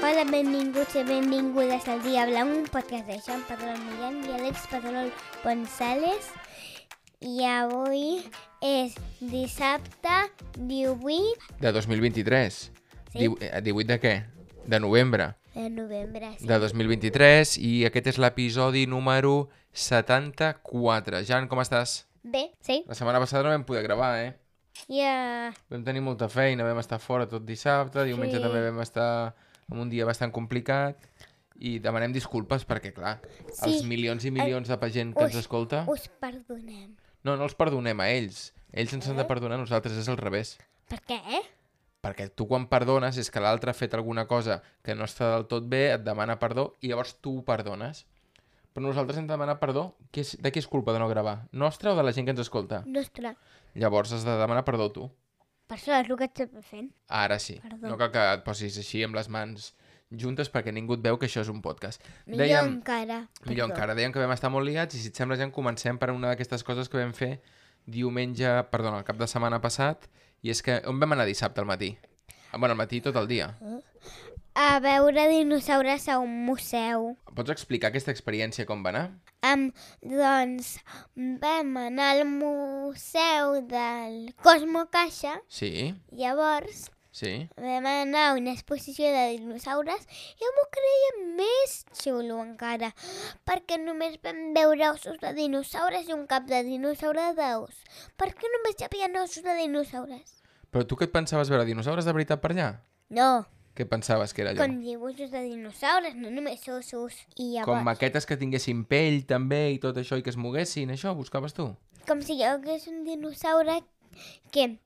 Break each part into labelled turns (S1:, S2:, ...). S1: benvinguts i benvingudes al Dia Blau, un podcast de Joan Pedrol Millán i Àlex Pedrol González. I avui és dissabte 18
S2: De 2023.
S1: Sí.
S2: Diu- eh, 18 de què? De novembre
S1: de novembre. Sí.
S2: de 2023 i aquest és l'episodi número 74. Jan, com estàs?
S1: Bé, sí. eh,
S2: La setmana passada no vam poder gravar, eh?
S1: Ja,
S2: Vam tenir molta feina, vam estar fora tot dissabte, diumenge
S1: Sí.
S2: també vam estar amb un dia bastant complicat i demanem disculpes perquè, clar,
S1: Sí. Eh,
S2: els milions i milions de gent que ens
S1: Us-
S2: escolta...
S1: us perdonem.
S2: No, no els perdonem a ells. Ells ens han
S1: Eh?
S2: de perdonar a nosaltres, és al revés.
S1: Per què?
S2: Perquè tu quan perdones és que l'altre ha fet alguna cosa que no està del tot bé, et demana perdó i llavors tu ho perdones. Però nosaltres hem de demanar perdó. Qui és, de qui és culpa de no gravar? Nostra o de la gent que ens escolta?
S1: Nostre.
S2: Llavors has de demanar perdó tu.
S1: Per això és el que estem fent.
S2: Ara sí.
S1: Perdó.
S2: No cal que et posis així amb les mans juntes perquè ningú et veu que això és un podcast.
S1: Millor
S2: Dèiem-
S1: encara.
S2: Millor
S1: Perdó.
S2: encara, dèiem que vam estar molt liats i si et sembla ja en comencem per una d'aquestes coses que vam fer diumenge, perdona, el cap de setmana passat i és que on vam anar dissabte al matí? Ah, Bueno, al matí tot el dia.
S1: A veure dinosaures a un museu.
S2: Pots explicar aquesta experiència com va anar?
S1: Um, doncs vam anar al museu del Cosmo Caixa,
S2: Sí,
S1: llavors
S2: sí.
S1: vam anar a una exposició de dinosaures i jo m'ho creia més xulo encara, perquè només vam veure ossos de dinosaures i un cap de dinosaure d'ous. Per què només hi havia ossos de dinosaures?
S2: Però tu què et pensaves veure? Dinosaures de veritat per allà?
S1: No,
S2: Què pensaves que era allò?
S1: com dibuixos de dinosaures, no només ossos. I
S2: Com
S1: llavors,
S2: maquetes que tinguessin pell també i tot això i que es moguessin, això buscaves tu?
S1: com, si jo hagués un dinosaure que,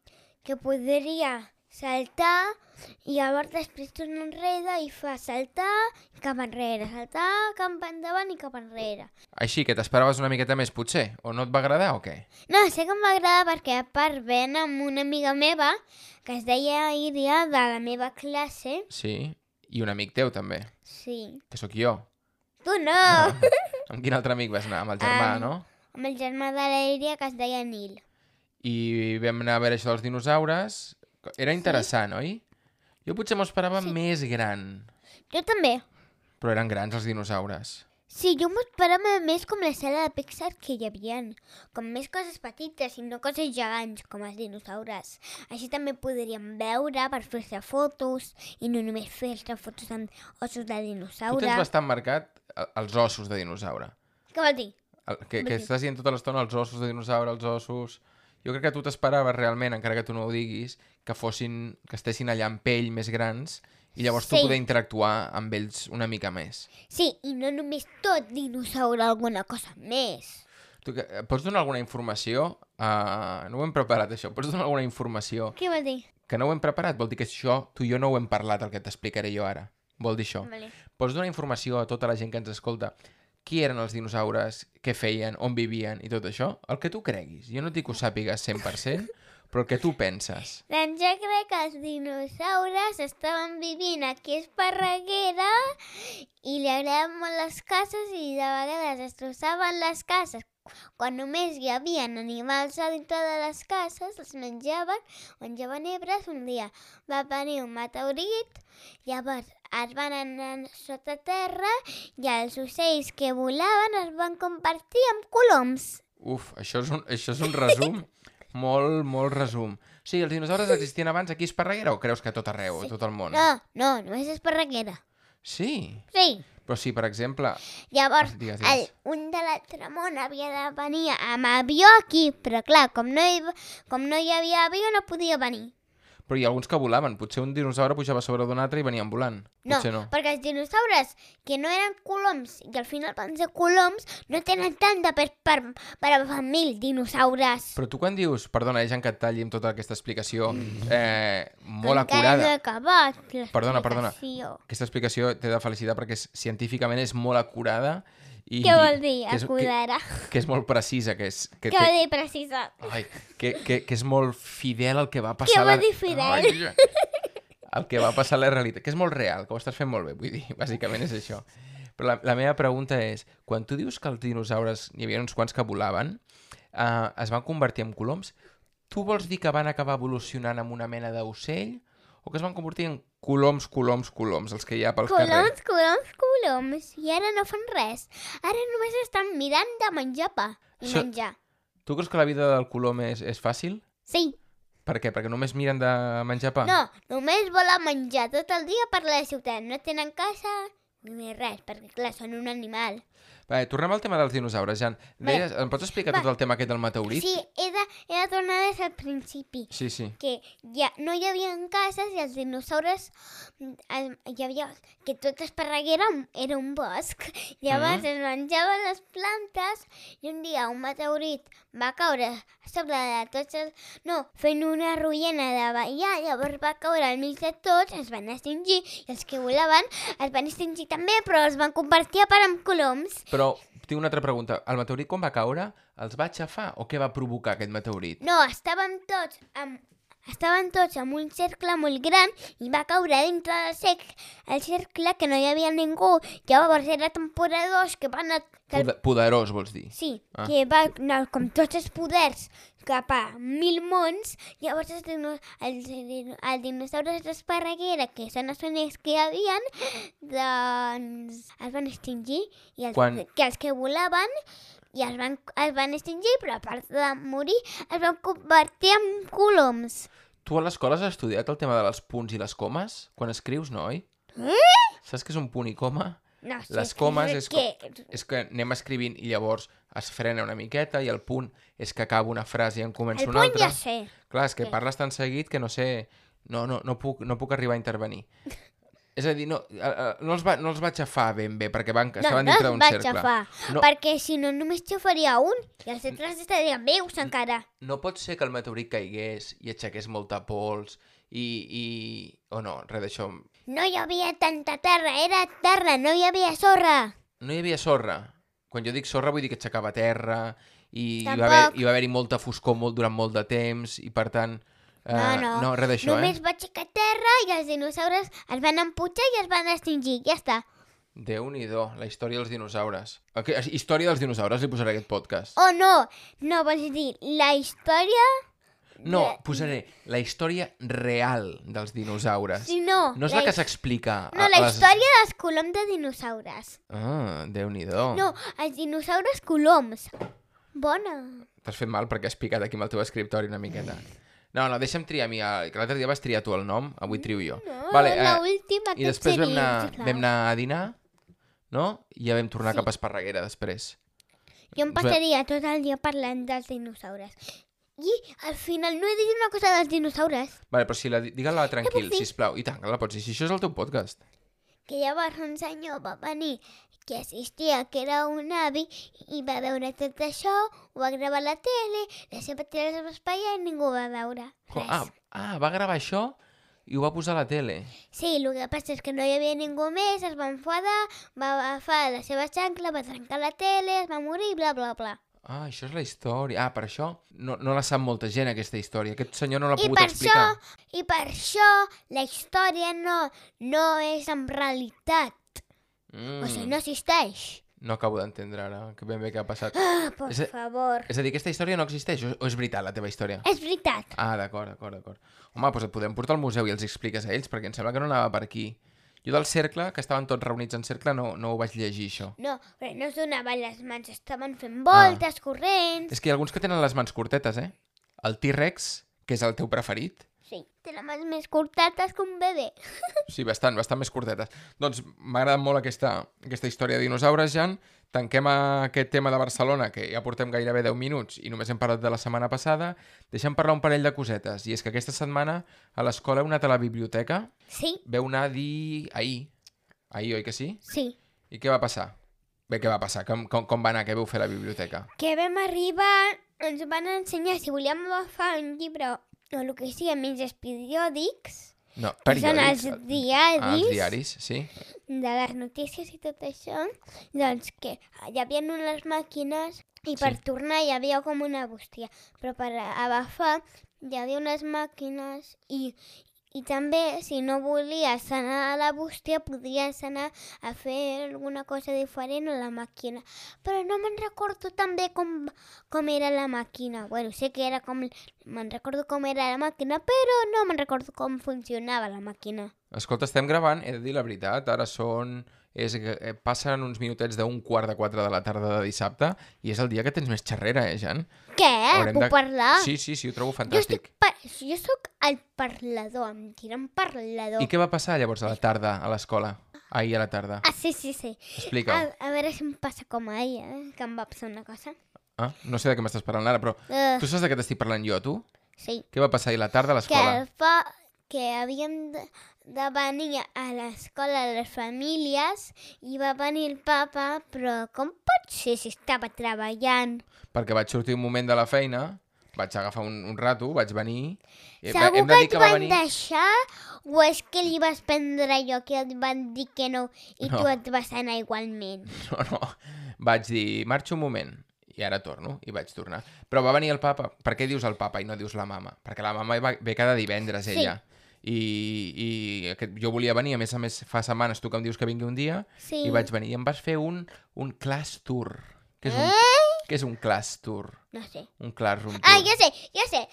S1: que podria saltar i llavors després torna enrere i fa saltar i cap enrere, saltar, cap endavant i cap enrere.
S2: Així, que t'esperaves una miqueta més potser, o no et va agradar o què?
S1: No, sé que m'agrada perquè a part ven amb una amiga meva que es deia Iria de la meva classe.
S2: Sí, i un amic teu també,
S1: Sí.
S2: que sóc jo.
S1: Tu no!
S2: Amb quin altre amic vas anar? Amb el germà,
S1: Amb-
S2: no?
S1: Amb el germà de la Iria que es deia Nil.
S2: I vam anar a veure això dels dinosaures. Era interessant, oi? Jo potser m'ho esperava més gran,
S1: Jo també.
S2: però eren grans els dinosaures.
S1: Sí, jo m'ho esperava més com la sala de Pixar que hi havia, com més coses petites i no coses gegants, com els dinosaures. Així també podríem veure per fer-se fotos i no només fer-se fotos amb ossos de
S2: Tu
S1: dinosaure.
S2: tens bastant marcat eh, els ossos de dinosaure.
S1: Què vol dir?
S2: El, que,
S1: Vull
S2: que
S1: dir-
S2: estàs dient tota l'estona els ossos de dinosaure, els ossos... Jo crec que tu t'esperaves realment, encara que tu no ho diguis, que fossin, que estessin allà amb pell més grans i llavors
S1: Sí.
S2: tu poder interactuar amb ells una mica més.
S1: Sí, i no només tot dinosaure, alguna cosa més.
S2: Tu que, eh, pots donar alguna informació? Uh, no ho hem preparat, això. Pots donar alguna informació?
S1: Què vol dir?
S2: Que no ho hem preparat vol dir que això tu i jo no ho hem parlat, el que t'explicaré jo ara. Vol dir això.
S1: Vale.
S2: Pots donar informació a tota la gent que ens escolta? Qui eren els dinosaures? Què feien? On vivien? I tot això? El que tu creguis. Jo no et dic que ho sàpigues 100%, però el que tu penses.
S1: Doncs jo crec que els dinosaures estaven vivint aquí a Esparreguera i li agradaven molt les cases i de vegades destrossaven les cases. Quan només hi havia animals a dintre de les cases, els menjaven, menjaven hebres. Un dia va venir un meteorit, llavors es van anar sota terra i els ocells que volaven es van compartir amb coloms.
S2: Uf, això és un, això és un resum. Molt, molt resum. O sigui, els dinosaures existien abans aquí a Esparreguera o creus que a tot arreu, a tot el món?
S1: No, no, només és Esparreguera.
S2: Sí.
S1: Sí.
S2: Però sí, per exemple...
S1: Llavors,
S2: Digues,
S1: el,
S2: digues.
S1: un de la Tramona havia de venir amb avió aquí, però clar, com no hi, va- com no hi havia avió no podia venir.
S2: Però hi ha alguns que volaven. Potser un dinosaure pujava sobre d'un altre i venien volant.
S1: No,
S2: Potser no.
S1: perquè els dinosaures que no eren coloms i al final van ser coloms no tenen tant de pes per, per agafar mil dinosaures.
S2: Però tu quan dius... Perdona, eh, Jan, que et talli amb tota aquesta explicació eh,
S1: Mm. Encara
S2: molt acurada.
S1: no he acabat
S2: Perdona, perdona.
S1: l'explicació.
S2: Aquesta explicació t'he de felicitar perquè és, científicament és molt acurada i...
S1: Què vol dir,
S2: que és-
S1: acudara?
S2: Que, que és molt precisa, que és... Que
S1: Què vol dir, precisa?
S2: Ai, que, que, que és molt fidel al que va passar...
S1: vol
S2: a la-
S1: dir fidel?
S2: Ai, ja. el que va passar a la realitat, que és molt real, que ho estàs fent molt bé, vull dir, bàsicament és això. Però la, la meva pregunta és, quan tu dius que els dinosaures, hi havia uns quants que volaven, eh, es van convertir en coloms, tu vols dir que van acabar evolucionant amb una mena d'ocell o que es van convertir en coloms, coloms, coloms, els que hi ha pels carrers.
S1: Coloms, coloms, coloms. I ara no fan res. Ara només estan mirant de menjar pa i
S2: Això-
S1: menjar.
S2: Tu creus que la vida del colom és, és fàcil?
S1: Sí.
S2: Per què? Perquè només miren de menjar pa?
S1: No, només volen menjar tot el dia per la ciutat. No tenen casa ni res, perquè clar, són un animal.
S2: Vale, tornem al tema dels dinosaures, Jan.
S1: Bé.
S2: Deies, em pots explicar
S1: Va.
S2: tot el tema aquest del meteorit?
S1: Sí, he de, he de tornar des al principi.
S2: Sí, sí.
S1: que ja no hi havia cases i els dinosaures mm, em- hi havia que tot Esparreguera era un bosc llavors
S2: Mm.
S1: es menjaven les plantes i un dia un meteorit va caure a sobre de tots els... no, fent una ruïna de ballar llavors va caure al mig de tots es van extingir i els que volaven es van extingir també però els van convertir a part en coloms
S2: Però tinc una altra pregunta. El meteorit quan va caure els va aixafar o què va provocar aquest meteorit?
S1: No, estàvem tots amb, estaven tots en un cercle molt gran i va caure dintre del sec, el cercle que no hi havia ningú. Llavors era temporada 2 que van... A, que el-
S2: Poder- Poderós, vols dir?
S1: sí,
S2: Ah.
S1: que va anar com tots els poders cap a mil mons, llavors els, dino, els, dino- els dinosaures d'Esparreguera, que són els únics que hi havien, doncs es van extingir, i els,
S2: Quan-
S1: que els que volaven i els van, es van extingir, però a part de morir, es van convertir en coloms.
S2: Tu a l'escola has estudiat el tema dels punts i les comes? Quan escrius, no, oi?
S1: Eh?
S2: Saps què és un punt i coma?
S1: No sé,
S2: Les comes
S1: que-
S2: és com-
S1: que...
S2: És que anem escrivint i llavors es frena una miqueta i el punt és que acaba una frase i en comença
S1: El
S2: una
S1: punt
S2: altra.
S1: ja sé.
S2: Clar, és que
S1: Què?
S2: parles tan seguit que no sé... No, no, no, puc, no puc arribar a intervenir. És a dir, no, eh, eh, no, els va, no els va aixafar ben bé, perquè van, estaven dintre
S1: es
S2: d'un
S1: va
S2: cercle.
S1: aixafar,
S2: No. Mm.
S1: perquè si no només xafaria un i els altres estarien vius encara.
S2: No pot ser que el meteorit caigués i aixequés molta pols i... i... O oh, no, res d'això.
S1: No hi havia tanta terra, era terra, no hi havia sorra.
S2: No hi havia sorra. Quan jo dic sorra vull dir que aixecava terra i, i va
S1: Tampoc.
S2: haver- hi va haver-hi molta foscor molt, durant molt de temps i per tant... Eh,
S1: No, no.
S2: no, res d'això,
S1: Només
S2: eh?
S1: va aixecar terra i els dinosaures es van emputxar i es van extingir, ja està.
S2: Déu-n'hi-do, la història dels dinosaures. Aqu història dels dinosaures li posaré a aquest podcast.
S1: O Oh, no, no vols dir la història,
S2: No,
S1: Re-
S2: posaré la història real dels dinosaures.
S1: sinó...
S2: No és
S1: la
S2: la que
S1: his-
S2: s'explica. a-
S1: No,
S2: a
S1: la
S2: les-
S1: història dels coloms de dinosaures.
S2: Ah, Déu-n'hi-do.
S1: No, els dinosaures coloms. Bona.
S2: T'has fet mal perquè has picat aquí amb el teu escriptori una miqueta. No, no, deixa'm triar a mi. eh, que L'altre dia vas triar tu el nom, avui trio jo.
S1: No,
S2: Vale,
S1: la
S2: eh,
S1: última
S2: I després vam anar,
S1: sisplau.
S2: vam anar a dinar, no? I ja vam tornar cap a Esparreguera després.
S1: Jo em
S2: Ens vam-
S1: passaria tot el dia parlant dels dinosaures. I al final no he dit una cosa dels dinosaures.
S2: Vale, però si la... di- Digue-la tranquil,
S1: dir.
S2: sisplau. I tant, que la pots dir. Si això és el teu podcast.
S1: que llavors un senyor va venir que assistia, que era un avi, i va veure tot això, ho va gravar a la tele, la seva tele es va espaiar i ningú va veure
S2: Com-
S1: res.
S2: Ah, ah, va gravar això i ho va posar a la tele.
S1: Sí, el que passa és que no hi havia ningú més, es va enfadar, va agafar la seva xancla, va trencar la tele, es va morir i bla, bla, bla.
S2: Ah, això és la història. Ah, per això no, no la sap molta gent, aquesta història. Aquest senyor no l'ha
S1: I
S2: pogut
S1: per, això,
S2: explicar.
S1: I per això la història no, no és en realitat,
S2: Mm,
S1: o sigui, no existeix.
S2: No acabo d'entendre ara que ben bé què ha passat.
S1: Ah, per
S2: És a-
S1: favor.
S2: És a dir, aquesta història no existeix, o o és veritat la teva història?
S1: És veritat.
S2: Ah, d'acord, d'acord, d'acord. Home, doncs et podem portar al museu i els expliques a ells, perquè em sembla que no anava per aquí. Jo del cercle, que estaven tots reunits en cercle, no, no ho vaig llegir, això.
S1: No, però no es donaven les mans, estaven fent voltes,
S2: Ah.
S1: corrents...
S2: És que hi ha alguns que tenen les mans curtetes, eh? El T-Rex, que és el teu preferit,
S1: Sí, té les mans més curtetes que un bebè.
S2: Sí, bastant, bastant més curtetes. Doncs m'agrada molt aquesta, aquesta història de dinosaures, Jan. Tanquem eh, aquest tema de Barcelona, que ja portem gairebé 10 minuts i només hem parlat de la setmana passada. Deixem parlar un parell de cosetes. I és que aquesta setmana a l'escola heu anat a la biblioteca.
S1: Sí,
S2: Veu anar di... ahir. Ahir, oi que sí?
S1: sí.
S2: I què va passar? Bé, què va passar? Com, com, com va anar? Què veu fer a la biblioteca?
S1: Que vam arribar, ens van ensenyar si volíem agafar un llibre o el que sigui, menys els periòdics,
S2: No,
S1: que són els
S2: periòdics.
S1: diaris,
S2: Ah, els diaris, sí.
S1: de les notícies i tot això, doncs que hi havia unes màquines i per
S2: Sí.
S1: tornar hi havia com una bústia, però per agafar hi havia unes màquines i, I també, si no volies anar a la bústia, podies anar a fer alguna cosa diferent a la màquina. Però no me'n recordo tan bé com, com era la màquina. Bueno, sé que era com... Me'n recordo com era la màquina, però no me'n recordo com funcionava la màquina.
S2: Escolta, estem gravant, he de dir la veritat, ara són... És, que, eh, passen uns minutets d'un quart de quatre de la tarda de dissabte i és el dia que tens més xerrera, eh, Jan?
S1: Què?
S2: Haurem
S1: Puc
S2: de-
S1: parlar?
S2: Sí, sí, sí, ho trobo
S1: Ah. jo, estic
S2: fantàstic.
S1: pa... jo sóc el parlador, em diran parlador.
S2: I què va passar llavors a la tarda a l'escola? Ahir a la tarda.
S1: Ah, sí, sí, sí.
S2: Explica-ho.
S1: A, a veure si em passa com a ella, eh? que em va passar una cosa.
S2: Ah, no sé de què m'estàs parlant ara, però
S1: Uh,
S2: tu saps de què t'estic parlant jo, tu?
S1: sí.
S2: Què va passar ahir a la tarda a
S1: que,
S2: l'escola?
S1: fa, que havien de, de venir a l'escola les famílies i va venir el papa, però com pot ser si estava treballant?
S2: Perquè vaig sortir un moment de la feina, vaig agafar un, un rato, vaig venir... eh, va-
S1: Segur
S2: hem de
S1: que
S2: dir
S1: et
S2: va
S1: van deixar o és que li vas prendre allò que et van dir que no i
S2: No.
S1: tu et vas anar igualment?
S2: No, no. Vaig dir, marxo un moment. I ara torno, i vaig tornar. Però va venir el papa. Per què dius el papa i no dius la mama? Perquè la mama hi va, ve cada divendres,
S1: Sí.
S2: ella. I, i aquest, jo volia venir, a més a més, fa setmanes tu que em dius que vingui un dia,
S1: Sí.
S2: i vaig venir. I em vas fer un, un class tour. Que és un, que és un class tour?
S1: No sé.
S2: Un classroom tour.
S1: Eh? Ah, ja sé, ja sé.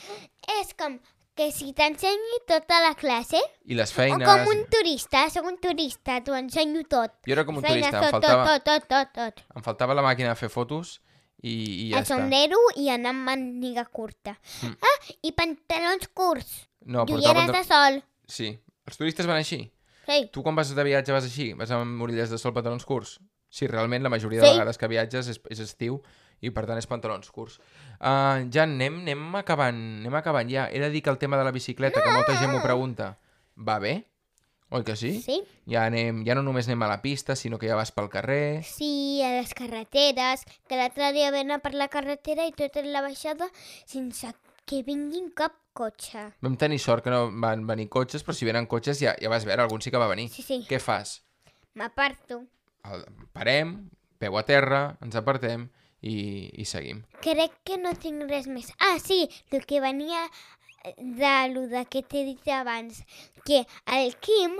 S1: És com que si t'ensenyi tota la classe,
S2: I les
S1: o
S2: feines...
S1: com un turista, soc un turista, t'ho ensenyo tot.
S2: Jo era com un
S1: Feines,
S2: turista, em
S1: tot,
S2: faltava,
S1: tot, tot, tot, tot.
S2: em faltava la màquina de fer fotos i, i
S1: el
S2: ja està.
S1: sombrero i anar amb màniga curta.
S2: Mm.
S1: Ah, i pantalons curts.
S2: No,
S1: No,
S2: portava...
S1: Ulleres de sol.
S2: pantal- Sí, els turistes van així.
S1: Sí.
S2: Tu quan vas de viatge vas així? Vas amb orelles de sol, pantalons curts? Sí, realment la majoria
S1: Sí.
S2: de vegades que viatges és, és estiu i per tant és pantalons curts. Uh, ja anem, anem acabant, anem acabant ja. He de dir que el tema de la bicicleta, que molta gent m'ho pregunta, va bé? Oi que sí?
S1: Sí,
S2: Ja, anem, ja no només anem a la pista, sinó que ja vas pel carrer...
S1: sí, a les carreteres, que l'altre dia vam anar per la carretera i tota la baixada sense que vinguin cap cotxe.
S2: Vam tenir sort que no van venir cotxes, però si venen cotxes ja, ja vas veure, algun sí que va venir.
S1: Sí, sí,
S2: Què fas?
S1: m'aparto.
S2: El, parem, peu a terra, ens apartem i, i seguim.
S1: Crec que no tinc res més. Ah, sí, el que venia eh, de lo de que t'he dit abans, que el Quim,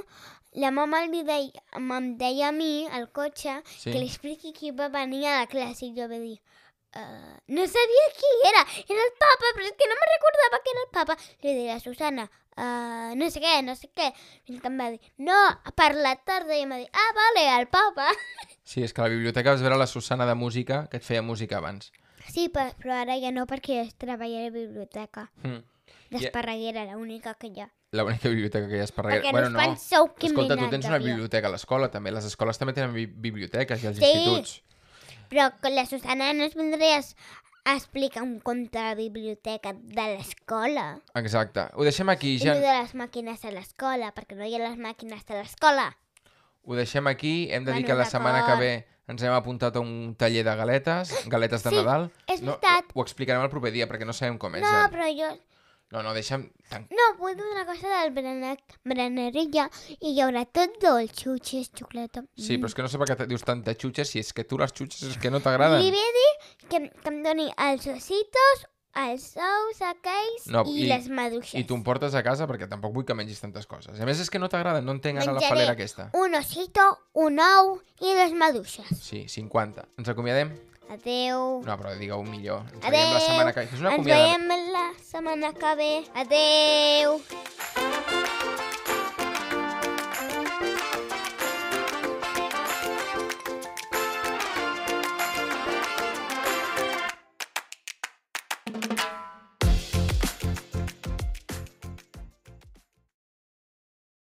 S1: la mama li deia, em deia a mi, al cotxe,
S2: Sí.
S1: que li expliqui qui va venir a la classe i jo vaig dir "Eh, no sabia qui era, era el papa, però és que no me recordava que era el papa. Li diré a Susana, "Eh, no sé què, no sé què. I em va dir, no, per la tarda. I em va dir, ah, vale, el papa.
S2: Sí, és que a la biblioteca vas veure la Susana de música, que et feia música abans.
S1: Sí, pe- però ara ja no, perquè jo treballo a la biblioteca.
S2: Mm.
S1: D'Esparreguera, la única que hi ha.
S2: La única biblioteca que hi ha és per
S1: Perquè
S2: bueno,
S1: no
S2: no.
S1: fan sou que
S2: Escolta,
S1: m'he
S2: tu
S1: anat
S2: tens
S1: de
S2: una
S1: via.
S2: biblioteca a l'escola, també. Les escoles també tenen bi- biblioteques i els
S1: Sí.
S2: instituts.
S1: Però que la Susana no ens vindries a explicar un conte de la biblioteca de l'escola.
S2: Exacte. Ho deixem aquí,
S1: I ja...
S2: Jan.
S1: de les màquines a l'escola, perquè no hi ha les màquines a l'escola.
S2: Ho deixem aquí. Hem de dir
S1: Bueno,
S2: que la
S1: d'acord.
S2: setmana que ve ens hem apuntat a un taller de galetes, galetes de
S1: Sí,
S2: Nadal.
S1: és
S2: No,
S1: veritat.
S2: ho explicarem el proper dia, perquè no sabem com és,
S1: No,
S2: Jan.
S1: però jo...
S2: No, no, deixa'm... Tan...
S1: No, vull dir una cosa del berenar, berenarella i hi haurà tot dolç, xutxes, xocolata.
S2: Sí, però és que no sé per què te- dius tanta xutxa, si és que tu les xutxes és que no
S1: Mm.
S2: t'agraden.
S1: Li vaig dir que, que em doni els ositos, els ous, aquells
S2: No,
S1: i,
S2: i-
S1: les maduixes.
S2: I tu em portes a casa perquè tampoc vull que mengis tantes coses. A més, és que no t'agraden, no entenc ara la
S1: Menjaré.
S2: falera aquesta.
S1: Un osito, un ou i les maduixes.
S2: Sí, 50. Ens acomiadem?
S1: Adeu.
S2: No, però digue-ho millor. Ens
S1: Adeu.
S2: veiem la setmana que... És una
S1: Ens
S2: acomiadada.
S1: veiem la setmana que ve. Adeu.